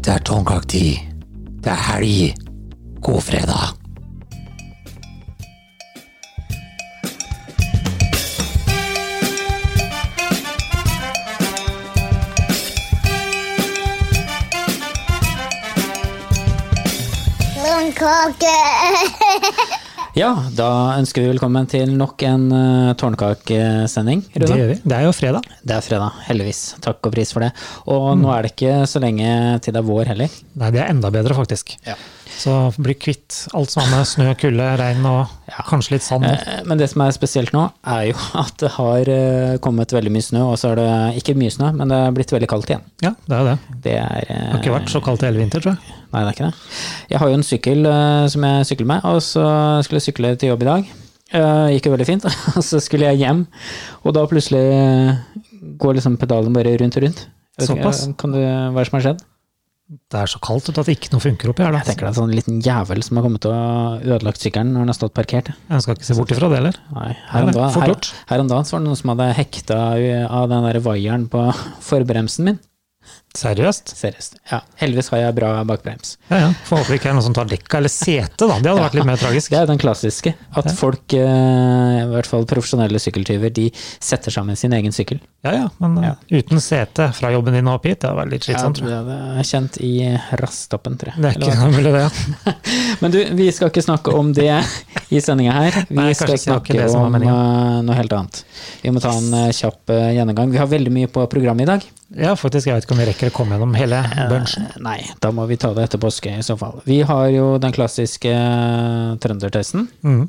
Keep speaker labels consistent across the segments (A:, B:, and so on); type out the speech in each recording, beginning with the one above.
A: Det er tomkaktid. Det er helg. God fredag.
B: Blomkake!
A: Ja, da ønsker vi velkommen til nok en uh, tårnkakesending. Rune.
C: Det gjør vi. Det er jo fredag.
A: Det er fredag, heldigvis. Takk og pris for det. Og nå
C: Mm.
A: er det ikke så lenge til det er vår heller.
C: Nei, det er enda bedre, faktisk.
A: Ja.
C: Så bli kvitt alt som har med snø, kulde, regn og kanskje litt sand.
A: Eh, Men det som er spesielt nå, er jo at det har eh, kommet veldig mye snø, og så er det ikke mye snø, men det er blitt veldig kaldt igjen.
C: Ja, det er jo det.
A: Det er eh,
C: Det har ikke vært så kaldt i hele vinter, tror jeg.
A: Nei, det er ikke det. Jeg har jo en sykkel eh, som jeg sykler med, og så skulle jeg sykle til jobb i dag. Eh, gikk jo veldig fint, og så skulle jeg hjem, og da plutselig eh, går liksom pedalen bare rundt og rundt. Jeg vet ikke, eh,
C: Såpass.
A: Kan du, hva er det som har skjedd?
C: Det er så kaldt vet du, at ikke noe funker oppi her.
A: Jeg tenker det
C: Da.
A: er en sånn liten jævel som har kommet og ødelagt sykkelen når den har stått parkert.
C: Jeg skal ikke se bort ifra det heller.
A: Nei, her om,
C: Nei,
A: dagen,
C: fort
A: her,
C: gjort.
A: her om dagen så var det noen som hadde hekta u- av den der vaieren på forbremsen min.
C: Seriøst.
A: Seriøst. Ja, heldigvis har jeg bra bakbrems.
C: Ja, ja. Får håpe det ikke er noen som tar dekka eller setet, da. Det hadde vært litt mer tragisk.
A: Det er den klassiske. At folk, eh, i hvert fall profesjonelle sykkeltyver, de setter sammen sin egen sykkel.
C: Ja, ja. Men eh, uten sete fra jobben din og opp hit, det hadde vært litt slitsomt, tror jeg.
A: Ja, det er kjent i rasttoppen, tror jeg.
C: Det er
A: Eller
C: ikke noe mulig, det. ja.
A: Men du, vi skal ikke snakke om det i sendinga her. Vi
C: Nei,
A: skal
C: kanskje
A: snakke
C: ikke det som
A: om
C: var
A: eh, noe helt annet. Vi må ta en eh, kjapp eh, gjennomgang. Vi har veldig mye på programmet i dag.
C: Ja, faktisk. Jeg vet ikke om vi rekker å komme gjennom hele bunchen.
A: Eh, Nei, da må vi ta det etter påske i så fall. Vi har jo den klassiske eh, trøndertesten.
C: Mm.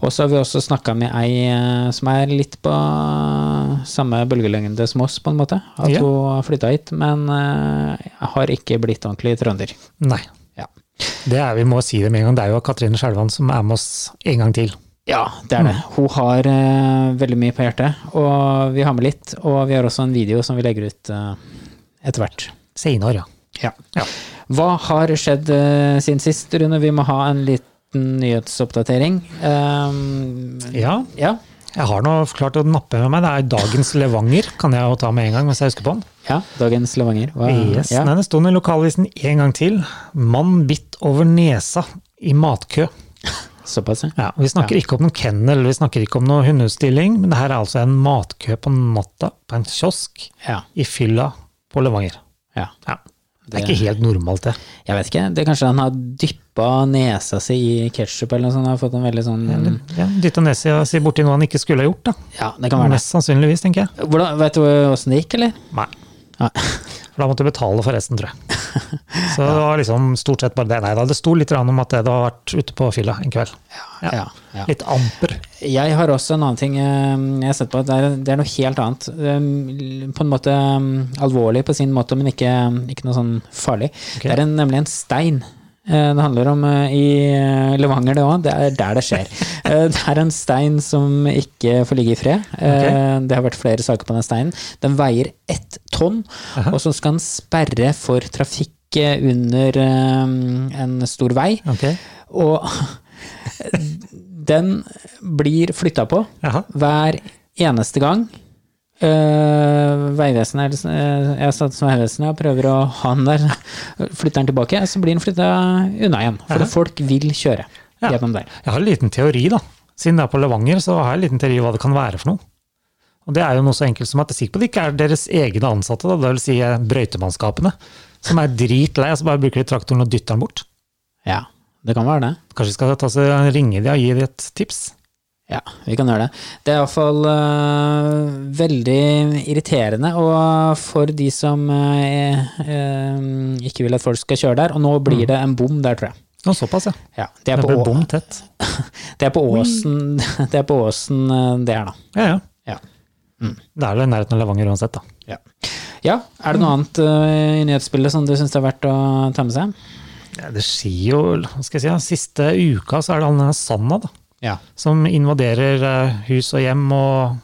A: Og så har vi også snakka med ei eh, som er litt på eh, samme bølgelengde som oss, på en måte. At
C: Ja.
A: hun har flytta hit, men eh, har ikke blitt ordentlig trønder.
C: Nei.
A: Ja.
C: Det er, vi må si det med en gang. Det er jo Katrine Skjelvan som er med oss en gang til.
A: Ja, det er det. Mm. Hun har eh, veldig mye på hjertet, og vi har med litt. Og vi har også en video som vi legger ut eh, etter hvert.
C: Seinere, ja.
A: Ja.
C: Ja.
A: Hva har skjedd eh, siden sist, Rune? Vi må ha en liten nyhetsoppdatering. Eh,
C: ja.
A: ja.
C: Jeg har nå klart å nappe med meg. Det er dagens Levanger, kan jeg jo ta med en gang mens jeg husker på den.
A: ja. Dagens Levanger. Hva,
C: Yes,
A: Ah, ja.
C: Nei, det sto den i lokalavisen en gang til. Mann bitt over nesa i matkø.
A: Såpass, ja.
C: Ja, vi snakker ikke om noen kennel, vi snakker ikke om noen hundeutstilling, men det her er altså en matkø på natta på en kiosk
A: Ja.
C: i fylla på Levanger.
A: ja.
C: Ja. Det er
A: Det-
C: ikke helt normalt, det.
A: Jeg vet ikke. Det er kanskje han har dyppa nesa si i ketsjup eller noe sånt. Han Har fått en veldig sånn
C: Ja, Dytta nesa si borti noe han ikke skulle ha gjort, da.
A: Ja, det kan være det.
C: Mest sannsynligvis, tenker jeg.
A: Hvordan, vet du åssen det gikk, eller?
C: Nei.
A: Nei.
C: For da måtte jeg betale for resten, tror jeg. Så det var liksom stort sett bare det. Nei da, det sto litt grann om at det hadde vært ute på fylla en kveld. Ja.
A: Ja, ja.
C: Litt amper.
A: Jeg har også en annen ting eh, jeg har sett på. at Det er, det er noe helt annet. Eh, På en måte eh, alvorlig på sin måte, men ikke, ikke noe sånn farlig.
C: Ok.
A: Det er en, nemlig en stein. Eh, Det handler om eh, i eh, Levanger, det òg. Det er der det skjer. Eh, Det er en stein som ikke får ligge i fred. Eh, Det har vært flere saker på den steinen. Den veier ett tonn, og så skal den sperre for trafikk eh, under eh, en stor vei.
C: Ok.
A: Og den blir flytta på
C: Jaha.
A: hver eneste gang. Uh, Vegvesenet eller sånn, eh, jeg har satt som Vegvesenet og prøver å ha den der, flytter den tilbake, så blir den flytta unna igjen. For folk vil kjøre
C: Ja.
A: gjennom der.
C: Jeg har en liten teori, da. Siden det er på Levanger, så har jeg en liten teori hva det kan være for noe. Og det er jo noe så enkelt som at jeg er sikker på at det ikke er deres egne ansatte, da. det vil si eh, brøytemannskapene, som er dritlei, og så bare bruker de traktoren og dytter den bort.
A: Ja, det kan være det.
C: Kanskje vi skal ta så ringe de og gi de et tips?
A: Ja, vi kan gjøre det. Det er iallfall uh, veldig irriterende og for de som eh, eh, ikke vil at folk skal kjøre der. Og nå blir det en bom der, tror jeg.
C: Ja, såpass, ja.
A: Ja, det er
C: Mm. Det
A: på
C: ble
A: Å-
C: bom tett.
A: Det er på Åsen det er, på åsen, eh, det er da.
C: Ja, ja.
A: Ja.
C: Det er vel i nærheten av Levanger uansett, da.
A: Ja. ja, er det noe annet eh, i nyhetsbildet som du syns det er verdt å ta med seg?
C: Ja, det skjer jo hva skal jeg si, ja, Siste uka så er det han denne Sanna da,
A: Ja.
C: som invaderer eh, hus og hjem og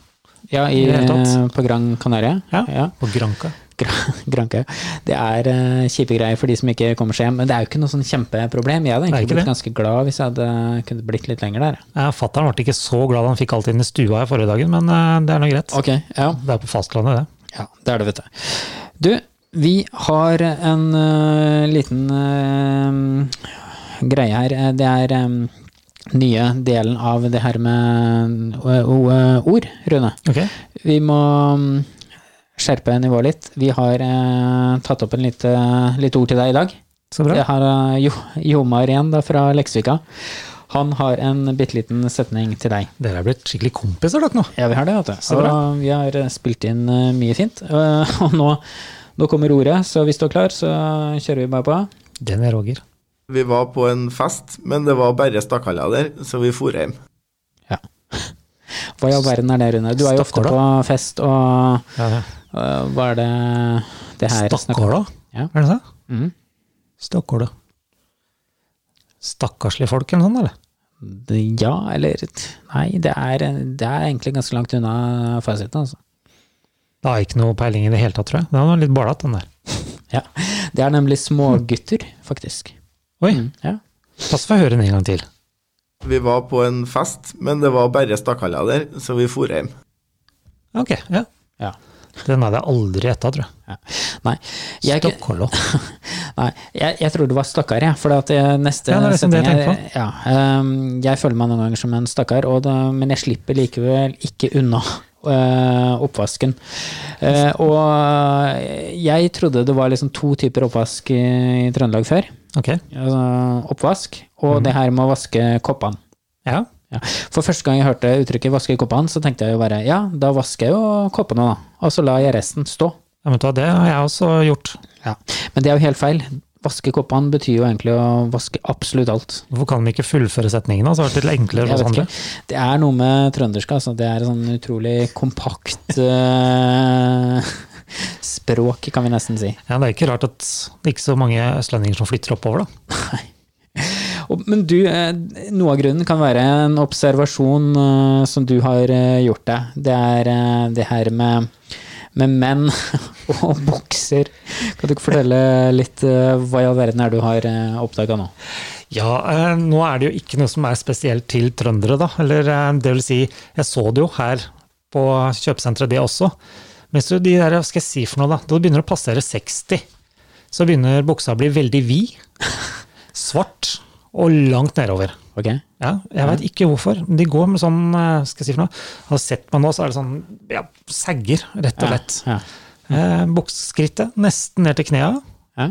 A: i, eh,
C: I det hele tatt.
A: på Gran Canaria.
C: ja,
A: Ja.
C: på Granca.
A: Gran- Gran Canaria. Det er eh, kjipe greier for de som ikke kommer seg hjem, men det er jo ikke noe sånn kjempeproblem. Jeg hadde
C: Det er
A: egentlig
C: ikke
A: blitt
C: det.
A: ganske glad hvis jeg hadde kunnet blitt litt lenger der.
C: Eh, Fattern ble ikke så glad han fikk alt inn i stua her forrige dagen, men eh, det er nå greit.
A: Ok, ja.
C: Det er på fastlandet, det.
A: ja. Det er det, vet du. Du, Vi har en eh, liten eh, greie her. Eh, Det er um, nye delen av det her med eh, o- eh, ord, Rune.
C: Ok.
A: Vi må mm, skjerpe nivået litt. Vi har eh, tatt opp en lite, lite ord til deg i dag.
C: Så bra.
A: Jeg har eh, jo, Jomar igjen da, fra Leksvika. Han har en bitte liten setning til deg.
C: Dere er blitt skikkelig kompiser, dere nå.
A: Ja, vi har det, vet du.
C: Så
A: Og
C: bra.
A: vi har eh, spilt inn eh, mye fint. Eh, Og nå, nå kommer ordet, så hvis du er klar, så kjører vi bare på.
C: Den er Roger.
B: Vi var på en fest, men det var bare stakkaller der, så vi for hjem.
A: Hva i all verden er det, Rune? Du er jo ofte
C: Stakkar, da.
A: på fest, og eh, hva er det det her snakker-
C: Stakkåla,
A: Ja.
C: er det det?
A: Mhm.
C: Stakkåla. Stakkarslige folk, eller noe sånt, eller?
A: Det- Ja, eller Nei, det er, det er egentlig ganske langt unna fasiten, altså.
C: Det har jeg ikke noe peiling i det hele tatt, tror jeg. Den var litt ballete, den
A: Ja.
C: der.
A: Det er nemlig smågutter, faktisk.
C: Oi,
A: Mm, Ja.
C: pass for å høre den en gang til.
B: Vi var på en fest, men det var bare stakkaller der, så vi for hjem.
C: Ok, ja.
A: ja.
C: Den hadde jeg aldri gjetta, tror jeg.
A: Nei. Jeg,
C: Stakkåla.
A: Nei, jeg, jeg tror det var stakkar, jeg. For at eh, neste
C: Ja, det er liksom det jeg
A: setning er-
C: tenkte
A: ja, ehm, jeg føler meg noen ganger som en stakkar, og da- men jeg slipper likevel ikke unna. eh, oppvasken. Eh, og jeg trodde det var liksom to typer oppvask i, i Trøndelag før.
C: Ok,
A: Altså, oppvask
C: Mhm.
A: og det her med å vaske koppene.
C: ja.
A: Ja. For første gang jeg hørte uttrykket 'vaske koppene', så tenkte jeg jo bare ja, da vasker jeg jo koppene, da. Og så lar jeg resten stå.
C: Ja, men vet du hva, det har jeg også gjort.
A: Ja. Men det er jo helt feil. Vaske koppene betyr jo egentlig å vaske absolutt alt.
C: Hvorfor kan de ikke fullføre setningen? da? Så har det vært litt enklere
A: Jeg
C: for
A: vet
C: oss andre.
A: ikke. Det er noe med trøndersk, altså. Det er sånn utrolig kompakt eh, språk, kan vi nesten si.
C: Ja, det er ikke rart at det er ikke så mange østlendinger som flytter oppover, da.
A: Og, men du, eh, noe av grunnen kan være en observasjon eh, som du har eh, gjort deg. Det er eh, det her med, med menn og bukser. Kan du ikke fortelle litt eh, hva i all verden er det du har uh, oppdaga nå?
C: Ja, eh, nå er det jo ikke noe som er spesielt til trøndere, da. Eller eh, det vil si, jeg så det jo her på kjøpesenteret, det også. Men så de der, hva skal jeg si for noe, da? Da du begynner å passere 60, så begynner buksa å bli veldig vid, svart og langt nedover.
A: Ok?
C: Ja, jeg
A: Mm.
C: veit ikke hvorfor. men De går med sånn, eh, skal jeg si for noe, har sett meg nå, så er det sånn, ja, sagger, rett og slett.
A: Ja.
C: Eh, Bukseskrittet nesten ned til knea.
A: Ja.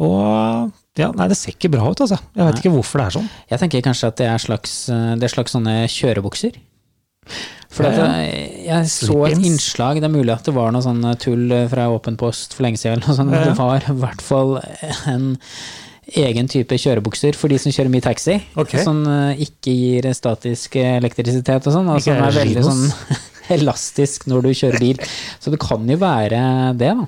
C: Og ja, nei, det ser ikke bra ut, altså. Jeg vet ikke hvorfor det er sånn.
A: Jeg tenker kanskje at det er slags, eh, det er slags sånne kjørebukser. For at
C: Ja,
A: jeg, jeg så et
C: Slip-ins.
A: innslag, det er mulig at det var noe sånn tull fra Åpen post for lenge siden, eller noe sånt, men
C: Ja, ja.
A: det var i hvert fall en egen type kjørebukser for de som kjører mye taxi,
C: Ok.
A: som eh, ikke gir statisk elektrisitet og sånn, og
C: Ikke
A: som er veldig sånn
C: Ginos.
A: elastisk når du kjører bil. Så det kan jo være det, da.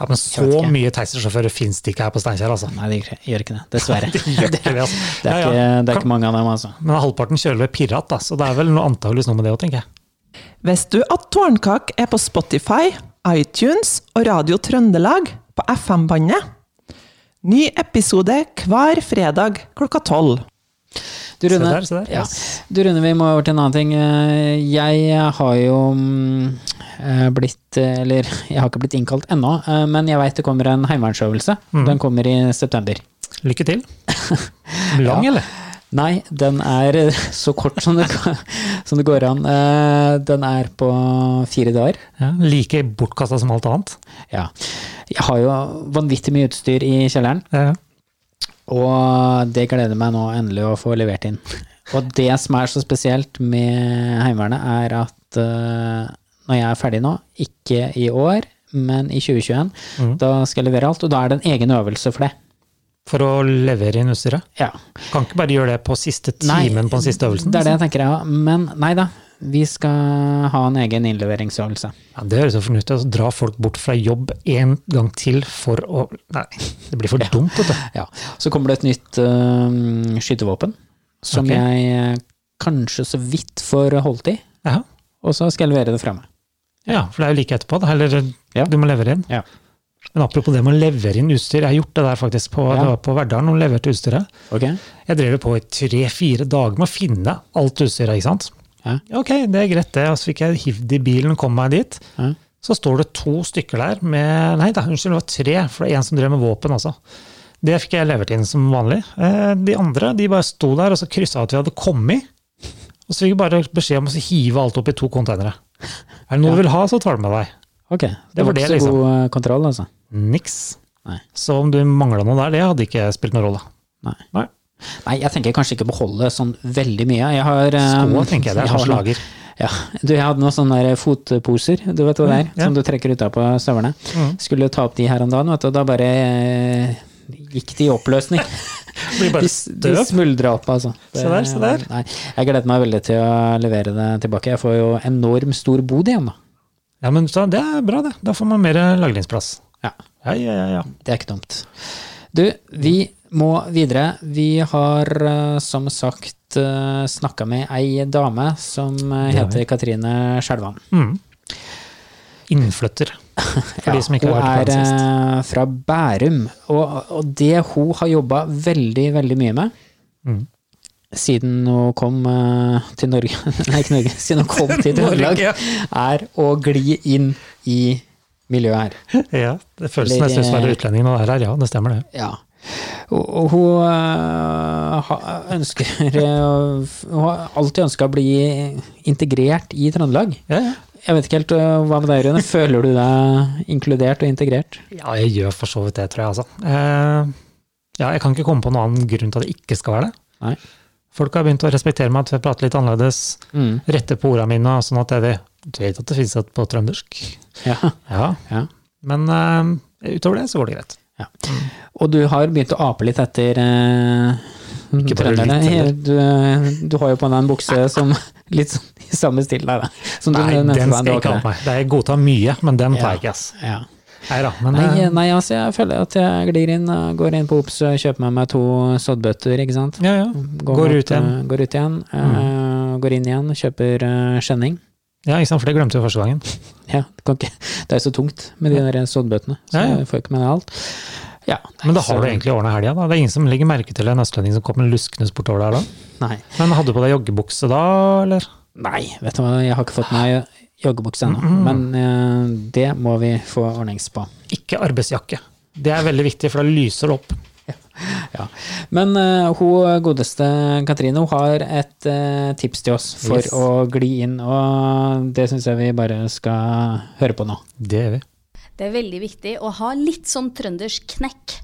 C: Ja, Men
A: Jeg vet
C: så
A: ikke.
C: mye taxisjåfører fins det ikke her på Steinkjer, altså.
A: Nei, det gjør ikke det, dessverre. Det
C: Gjør
A: er,
C: ikke det, altså.
A: det er,
C: Ja,
A: ikke,
C: ja.
A: det er ikke mange av dem, altså.
C: Men halvparten kjører ved pirat, da, så det er vel noe antageligvis noe med det òg, tenker jeg.
D: Visste du at Tårnkak er på Spotify, iTunes og Radio Trøndelag på FM-bandet? Ny episode hver fredag klokka tolv.
A: Du, Rune,
C: Se der, se der.
A: Ja. Du Rune, vi må over til en annen ting. Eh, Jeg har jo mm, eh, blitt, eh, eller jeg har ikke blitt innkalt ennå, eh, men jeg veit det kommer en heimevernsøvelse.
C: Mm.
A: Den kommer i september.
C: Lykke til. Lang, eller?
A: Nei, den er eh, så kort som det, kan- som det går an. Eh, Den er på fire dager.
C: Ja, like bortkasta som alt annet.
A: Ja. Jeg har jo vanvittig mye utstyr i kjelleren,
C: Ja, ja.
A: og det gleder meg nå endelig å få levert inn. Og det som er så spesielt med Heimevernet, er at eh, når jeg er ferdig nå, ikke i år, men i 2021,
C: Mhm.
A: da skal jeg levere alt, og da er det en egen øvelse for det.
C: For å levere inn utstyret.
A: Ja.
C: Kan ikke bare gjøre det på siste timen på den siste øvelsen. altså. liksom.
A: Det er det jeg tenker, ja. Men nei da, vi skal ha en egen innleveringsøvelse.
C: Ja, det høres jo fornuftig ut. å Dra folk bort fra jobb en gang til for å Nei, det blir for dumt, vet du.
A: Ja. Så kommer det et nytt eh, skytevåpen, som
C: Ok.
A: jeg eh, kanskje så vidt får holdt i,
C: Ja.
A: og så skal jeg levere det fra meg.
C: ja, for det er jo like etterpå. da. Eller
A: Ja.
C: du må levere inn.
A: Ja.
C: Men apropos det med å levere inn utstyr. Jeg har gjort det der faktisk på,
A: Ja.
C: det var på Verdalen. og leverte utstyret.
A: Ok?
C: Jeg drev jo på i tre-fire dager med å finne alt utstyret. ikke sant?
A: Ja.
C: Altså, Ok, det er greit det. Og så fikk jeg hivd i bilen, kom meg dit.
A: Ja.
C: Så står det to stykker der med Nei da, unnskyld, det var tre, for det er en som drev med våpen også. Det fikk jeg levert inn som vanlig. Eh, De andre de bare sto der og så kryssa at vi hadde kommet. Og så fikk vi bare beskjed om å hive alt opp i to konteinere. Er det noe du vil ha, så tar du med deg.
A: Ok, det
C: var
A: var
C: det,
A: ikke så
C: liksom.
A: god eh, kontroll, altså.
C: Niks.
A: Nei.
C: Så om du mangla noe der, det hadde ikke spilt noen rolle.
A: Nei.
C: Nei.
A: Nei, jeg tenker kanskje ikke beholde sånn veldig mye. Jeg har eh,
C: Skoa tenker jeg det er
A: har
C: som
A: noen-
C: slager.
A: Ja, du, jeg hadde noen sånne der fotposer, du vet hva det er,
C: Mm, ja. Mm.
A: som du trekker ut av på støvlene. Skulle ta opp de her om dagen, vet du, og da bare eh, gikk de i oppløsning.
C: Blir
A: De,
C: bare
A: s- de
C: støv.
A: smuldra opp, altså. Det
C: Se der, se
A: var-
C: der.
A: Nei, jeg gleder meg veldig til å levere det tilbake. Jeg får jo enorm stor bod igjen, da.
C: Ja, men så, det er bra, det. Da får man mer lagringsplass.
A: Ja,
C: Ja, ja, ja, ja.
A: det er ikke dumt. Du, vi må videre. Vi har eh, som sagt eh, snakka med ei dame som eh,
C: har
A: heter Katrine Skjelvan.
C: Mm. Innflytter. For de som ikke har
A: Hun
C: hørt på den
A: er
C: sist.
A: eh, fra Bærum, og, og det hun har jobba veldig, veldig mye med
C: Mm.
A: siden hun kom eh, til Norge Nei, ikke Norge. Siden hun kom til Trøndelag,
C: ja.
A: er å gli inn i miljøet her.
C: Ja, det føles
A: Eller,
C: nesten som å
A: eh,
C: være utlending når det er her, ja. Det stemmer, det.
A: Ja. Og, og hun øh, ha- ønsker øh, Hun har alltid ønska å bli integrert i Trøndelag.
C: Ja, ja.
A: Jeg vet ikke helt øh, hva med deg, Rune. Føler du deg inkludert og integrert?
C: ja, jeg gjør for så vidt det, tror jeg, altså. Eh, ja, jeg kan ikke komme på noen annen grunn til at det ikke skal være det.
A: Nei.
C: Folk har begynt å respektere meg at jeg prater litt annerledes,
A: Mm.
C: retter på ordene mine, og sånn at jeg vet, du vet at det finnes et på trøndersk.
A: Ja.
C: Ja,
A: ja.
C: men eh, utover det så går det greit.
A: Og du har begynt å ape litt etter eh,
C: bare
A: trønderne.
C: litt, eller?
A: Du, du har jo på deg en bukse som litt sånn i samme stil der, da. Som du
C: Nei,
A: nevnte
C: den
A: for meg,
C: skal
A: du
C: jeg
A: har
C: ikke ha
A: det.
C: på meg. Det er- Jeg godtar mye, men den tar
A: Ja.
C: jeg ikke, ass.
A: Ja.
C: Nei da, men
A: Nei,
C: eh,
A: nei, altså jeg føler at jeg glir inn, eh, går inn på Ops og kjøper med meg to soddbøtter, ikke sant.
C: ja, ja. Går
A: mot,
C: ut igjen. Mm.
A: eh, Går ut igjen, eh, går inn igjen, kjøper eh, skjenning.
C: ja, ikke sant, for det glemte vi første gangen.
A: Ja, det, kan ikke, det er jo så tungt med de der soddbøttene, så
C: Ja, ja.
A: jeg får ikke med deg alt. Ja,
C: Men da har
A: så-
C: du egentlig ordna helga, da. Det er ingen som legger merke til en østlending som kommer luskende bortover der da.
A: Nei.
C: Men hadde du på deg joggebukse da, eller?
A: Nei, vet du hva, jeg har ikke fått meg joggebukse ennå, men eh, det må vi få ordnings på.
C: Ikke arbeidsjakke. Det er veldig viktig, for da lyser det opp.
A: Ja. Men eh, hun godeste Katrine hun har et eh, tips til oss for
C: Yes.
A: å gli inn, og det syns jeg vi bare skal høre på nå.
C: Det gjør vi.
E: Det er veldig viktig å ha litt sånn trøndersk knekk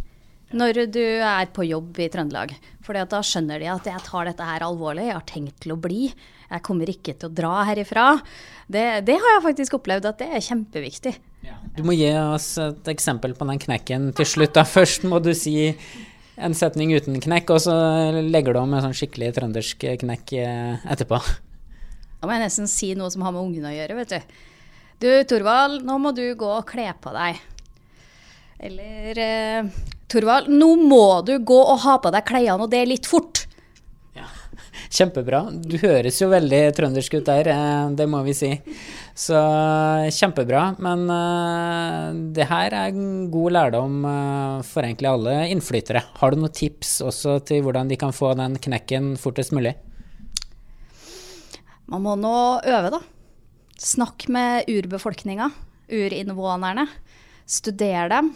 E: når du er på jobb i Trøndelag. For da skjønner de at jeg tar dette her alvorlig, jeg har tenkt til å bli. Jeg kommer ikke til å dra herifra. Det, det har jeg faktisk opplevd at det er kjempeviktig.
A: Du må gi oss et eksempel på den knekken til slutt. Da. Først må du si en setning uten knekk, og så legger du om en sånn skikkelig trøndersk knekk eh, etterpå.
E: Da må jeg nesten si noe som har med ungene å gjøre, vet du. Du Torvald, nå må du gå og kle på deg. Eller eh, Torvald, nå må du gå og ha på deg klærne, og det er litt fort.
A: Kjempebra. Du høres jo veldig trøndersk ut der, eh, det må vi si. Så eh, kjempebra. Men eh, det her er en god lærdom eh, for egentlig alle innflyttere. Har du noen tips også til hvordan de kan få den knekken fortest mulig?
E: Man må nå øve, da. Snakk med urbefolkninga, urinnvånerne. Studer dem.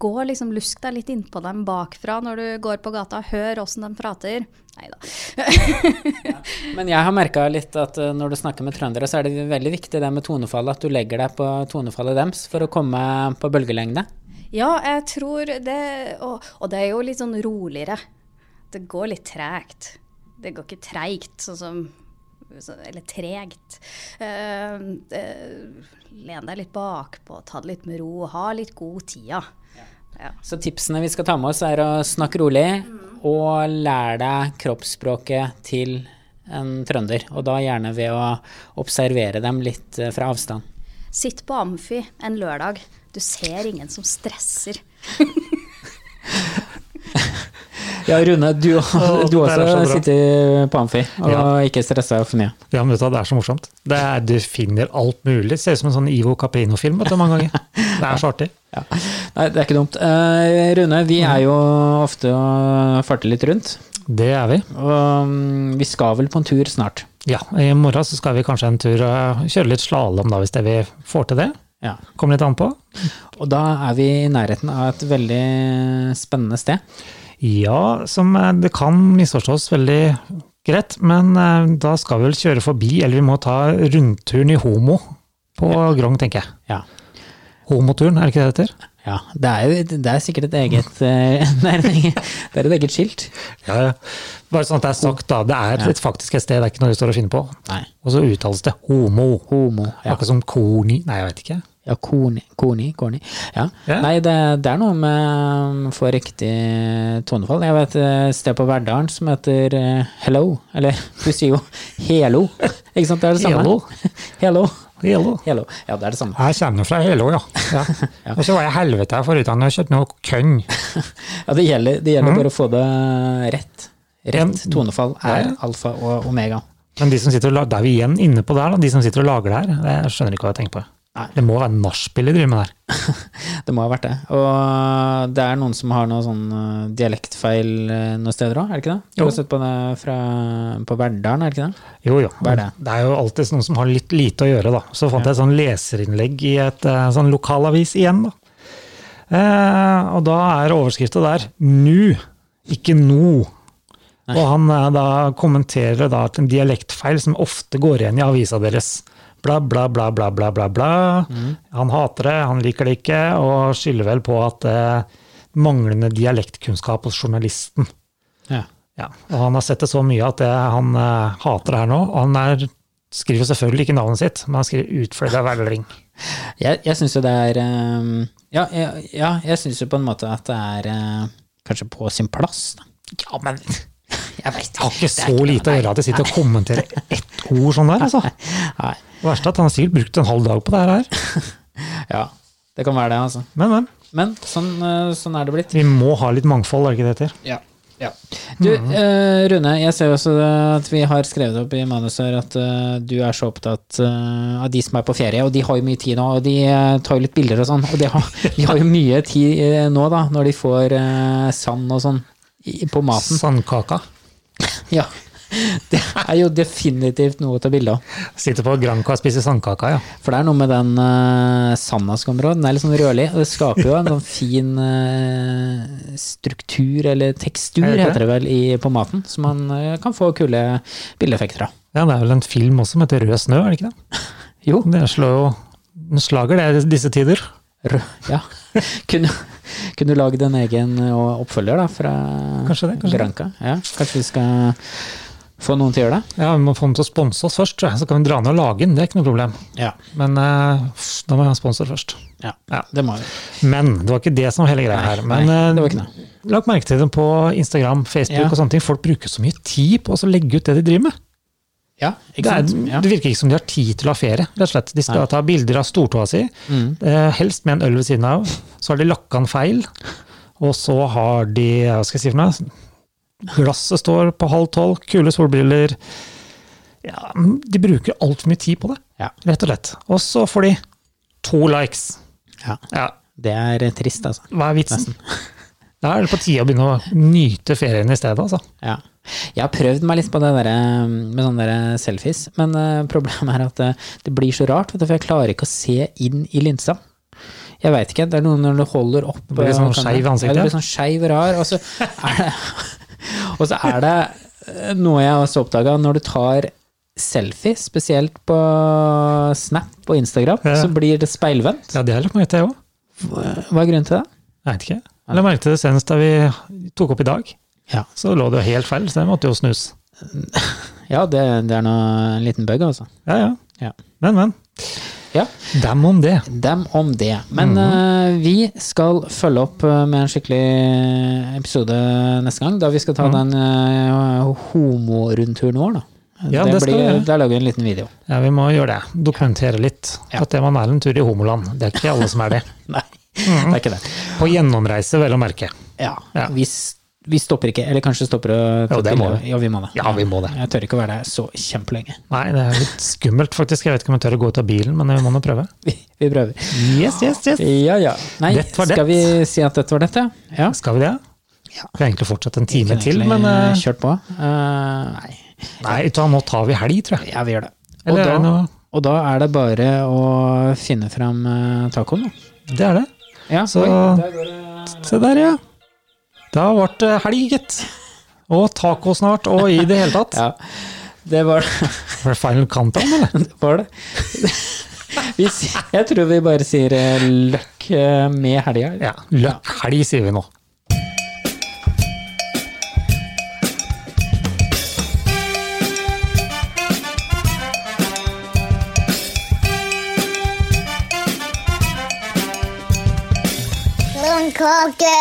E: Gå liksom Lusk deg litt innpå dem bakfra når du går på gata. Hør åssen de prater. Nei da.
A: Men jeg har merka litt at eh, når du snakker med trøndere, så er det veldig viktig det med tonefallet, at du legger deg på tonefallet deres for å komme på bølgelengde.
E: ja, jeg tror det og, og det er jo litt sånn roligere. Det går litt tregt. Det går ikke treigt, sånn som så- Eller tregt. Eh, eh, len deg litt bakpå, ta det litt med ro, ha litt god tid. Ja. Ja.
A: Så tipsene vi skal ta med oss, er å snakke rolig og lære deg kroppsspråket til en trønder, og da gjerne ved å observere dem litt eh, fra avstand.
E: Sitt på Amfi en lørdag. Du ser ingen som stresser.
A: Ja, Rune, du,
C: Å,
A: du
C: det er
A: også
C: så bra.
A: sitter på Amfi og
C: Ja.
A: ikke stressa for mye.
C: Ja, men vet du hva, det er så morsomt. Det er, du finner alt mulig. Ser ut som en sånn Ivo Caprino-film vet du, mange ganger. Det er så artig.
A: Nei, det er ikke dumt. Eh, Rune, vi
C: Mm.
A: er jo ofte og farter litt rundt,
C: Det er vi.
A: og mm, vi skal vel på en tur snart.
C: eh, Ja, i morgen så skal vi kanskje en tur og kjøre litt slalåm da, hvis det vi får til det.
A: Ja.
C: Kommer litt an på.
A: Og da er vi i nærheten av et veldig spennende sted.
C: Ja, som eh, det kan misforstås veldig greit, men eh, da skal vi vel kjøre forbi, eller vi må ta rundturen i Homo på Grong, tenker jeg.
A: Ja.
C: Homoturen, er det ikke det det heter?
A: ja det, er, jo- det er sikkert et eget eh, Nei, det er ikke- det er et eget skilt.
C: Ja, ja. Bare sånn at det er sagt, da. Det er et faktisk et sted, det er ikke noe vi står og finner på.
A: Nei.
C: Og så uttales det homo.
A: Homo. Ja,
C: Akkurat som korni Nei, jeg vet ikke.
A: ja korni, korni, korni. Ja.
C: Ja.
A: Nei, det, det er noe med å få riktig tonefall. Jeg vet eh, et sted på Verdalen som heter eh, Hello, eller du sier jo Helo. Ikke sant, det er det samme. Hello.
C: Helo. Hello.
A: Hello. Ja, det er det samme.
C: Jeg kommer fra Hello, ja. ja. Og så var jeg helvete her foruten, jeg har kjøpt noe kønn.
A: Ja, det gjelder, det gjelder bare å få det rett. Rett
C: Mhm. Ja.
A: tonefall
C: Ja,
A: er
C: ja.
A: alfa og omega.
C: Men de som sitter og lager, det er vi igjen inne på der, da, de som sitter og lager det her, det- jeg skjønner ikke hva jeg tenker på.
A: Nei.
C: Det må være nachspiel de driver med der.
A: Det må ha vært det. Og eh, det er noen som har noe sånn eh, dialektfeil eh, noen steder òg, er det ikke det? Du
C: Jo.
A: har sett på det fra, på Verdalen, er det ikke det?
C: Jo, jo.
A: Hva er det?
C: er jo alltid noen som har litt lite å gjøre, da. Så fant jeg et sånn leserinnlegg i et eh, sånn lokalavis igjen, da. Eh, og da er overskrifta der 'nu', ikke 'no'. Og han eh, da kommenterer da at en dialektfeil som ofte går igjen i avisa deres. Bla, bla, bla, bla, bla, bla. bla.
A: Mm.
C: Han hater det, han liker det ikke, og skylder vel på at eh, manglende dialektkunnskap hos journalisten.
A: Ja.
C: Ja, og han har sett det så mye at det, han eh, hater det her nå. Og han er, skriver selvfølgelig ikke navnet sitt, men han skriver utfløyd av velling.
A: Jeg, jeg syns jo det er eh, Ja, jeg, ja, jeg syns jo på en måte at det er eh, kanskje på sin plass, da.
C: Ja, men det
A: Jeg veit
C: har ikke så lite å gjøre at jeg sitter og kommenterer ett ord sånn der, altså.
A: Nei.
C: Det verste er at han har sikkert brukt en halv dag på det her.
A: Ja, det kan være det, altså.
C: Men, men.
A: Men sånn, eh, sånn er det blitt.
C: Vi må ha litt mangfold, er det ikke det det heter?
A: Ja. Du, eh, Rune, jeg ser jo også at vi har skrevet opp i manuset her at eh, du er så opptatt eh, av de som er på ferie, og de har jo mye tid nå, og de eh, tar jo litt bilder og sånn, og de har, de har jo mye tid eh, nå, da, når de får eh, sand og sånn i- på maten.
C: Sandkaka.
A: Ja. Det er jo definitivt noe å ta bilde av.
C: Sitter på Granca og spiser sandkaka, ja.
A: For det er noe med den eh, sanda som kommer òg, den er litt sånn rødlig, og det skaper jo en sånn fin eh, struktur, eller tekstur,
C: Er det det?
A: heter det vel, i, på maten, som man eh, kan få kule bildeeffekter av.
C: Ja, det er vel en film også som heter Rød snø, er det ikke det?
A: Jo.
C: Det slår jo den slager det i disse tider.
A: Rød, ja. Kunne, kunne du lagd en egen eh, oppfølger da, fra
C: Kanskje det, kanskje det.
A: Granca? Ja, kanskje vi skal få noen til å gjøre det?
C: Ja, vi må få dem til å sponse oss først, tror jeg. Så kan vi dra ned og lage den, det er ikke noe problem.
A: Ja.
C: Men eh, da må vi ha en sponsor først.
A: ja.
C: Ja.
A: Det må vi.
C: Men det var ikke det som var hele greia her.
A: Nei,
C: Men
A: det var
C: eh,
A: ikke noe.
C: lag merke til dem på Instagram, Facebook
A: Ja.
C: og sånne ting. Folk bruker så mye tid på å så legge ut det de driver med.
A: Ja,
C: Det,
A: ikke
C: er,
A: sant? Ja.
C: det virker ikke som de har tid til å ha ferie. rett og slett. De skal ta bilder av stortåa si,
A: Mm.
C: eh, helst med en øl ved siden av. Så har de lakka den feil, og så har de hva skal jeg si for noe, Glasset står på halv tolv, kule solbriller ja, De bruker altfor mye tid på det,
A: Ja.
C: rett og slett. Og så får de to likes.
A: Ja.
C: Ja,
A: Det er trist, altså.
C: Hva er vitsen? Da er det på tide å begynne å nyte ferien i stedet, altså.
A: Ja. Jeg har prøvd meg litt på det der, eh, med sånne der selfies, men eh, problemet er at eh, det blir så rart, vet du, for jeg klarer ikke å se inn i linsa. Jeg veit ikke, det er noe når du holder opp
C: blir
A: eh,
C: sånn
A: kameraet.
C: skeiv i
A: Ja,
C: ansiktet,
A: det
C: ja.
A: blir sånn skeiv og rar, og så er det, og så er det eh, noe jeg også oppdaga, når du tar selfie, spesielt på Snap og Instagram,
C: Ja.
A: så blir det speilvendt.
C: Ja, det har jeg lagt merke til, jeg òg.
A: Hva er grunnen til det?
C: Jeg vet ikke. Jeg la merke til det senest da vi tok opp i dag.
A: Ja,
C: Så lå det jo helt feil, så det måtte jo snus.
A: ja det, det er nå en liten bug, altså.
C: Ja, ja.
A: Ja.
C: Men, men.
A: ja.
C: Dem om det.
A: Dem om det. Men
C: Mhm.
A: eh, vi skal følge opp eh, med en skikkelig episode neste gang, da vi skal
C: Mhm.
A: ta den uh, homorundturen vår, da.
C: Ja, det skal vi gjøre.
A: Der lager vi en liten video.
C: Ja, vi må gjøre det. Dokumentere litt.
A: Ja.
C: At det man er en tur i homoland. Det er ikke alle som er det.
A: Nei, det er ikke det.
C: På gjennomreise, vel å merke.
A: Ja,
C: Mhm. Ja.
A: Vi, s- vi stopper ikke, eller kanskje stopper å ta
C: Jo, det
A: til-
C: må vi.
A: Ja, vi må det.
C: Ja, vi må det.
A: Jeg tør ikke å være der så kjempelenge.
C: Nei, det er litt skummelt, faktisk. Jeg vet ikke om jeg tør å gå ut av bilen, men vi må nå prøve.
A: Vi, vi prøver.
C: Yes, yes, yes.
A: Ja, ja. Nei,
C: Dette var det.
A: skal vi si at dette var dette? Ja.
C: Skal vi det? Vi kan egentlig fortsette en time
A: Kunne
C: til,
A: egentlig,
C: men
A: eh,
C: eh,
A: Kjørt på. Eh, nei.
C: Nei, vet du hva, nå tar vi helg, tror jeg.
A: Ja, vi gjør det. Og
C: Eller er
A: da,
C: det noe-
A: Og da er det bare å finne fram eh, tacoen. da.
C: Det er det.
A: Ja,
C: Så-
A: oi, der går det-
C: Se der, ja. Det har vært eh, helg, gitt. Og taco snart, og i det hele tatt.
A: ja. Det var
C: Var det final countdown, eller?
A: det. Var det. Vi, sier- jeg tror vi bare sier eh, løkk eh, med helga.
C: Ja. Løkkhelg, sier vi nå.
F: Blomkake!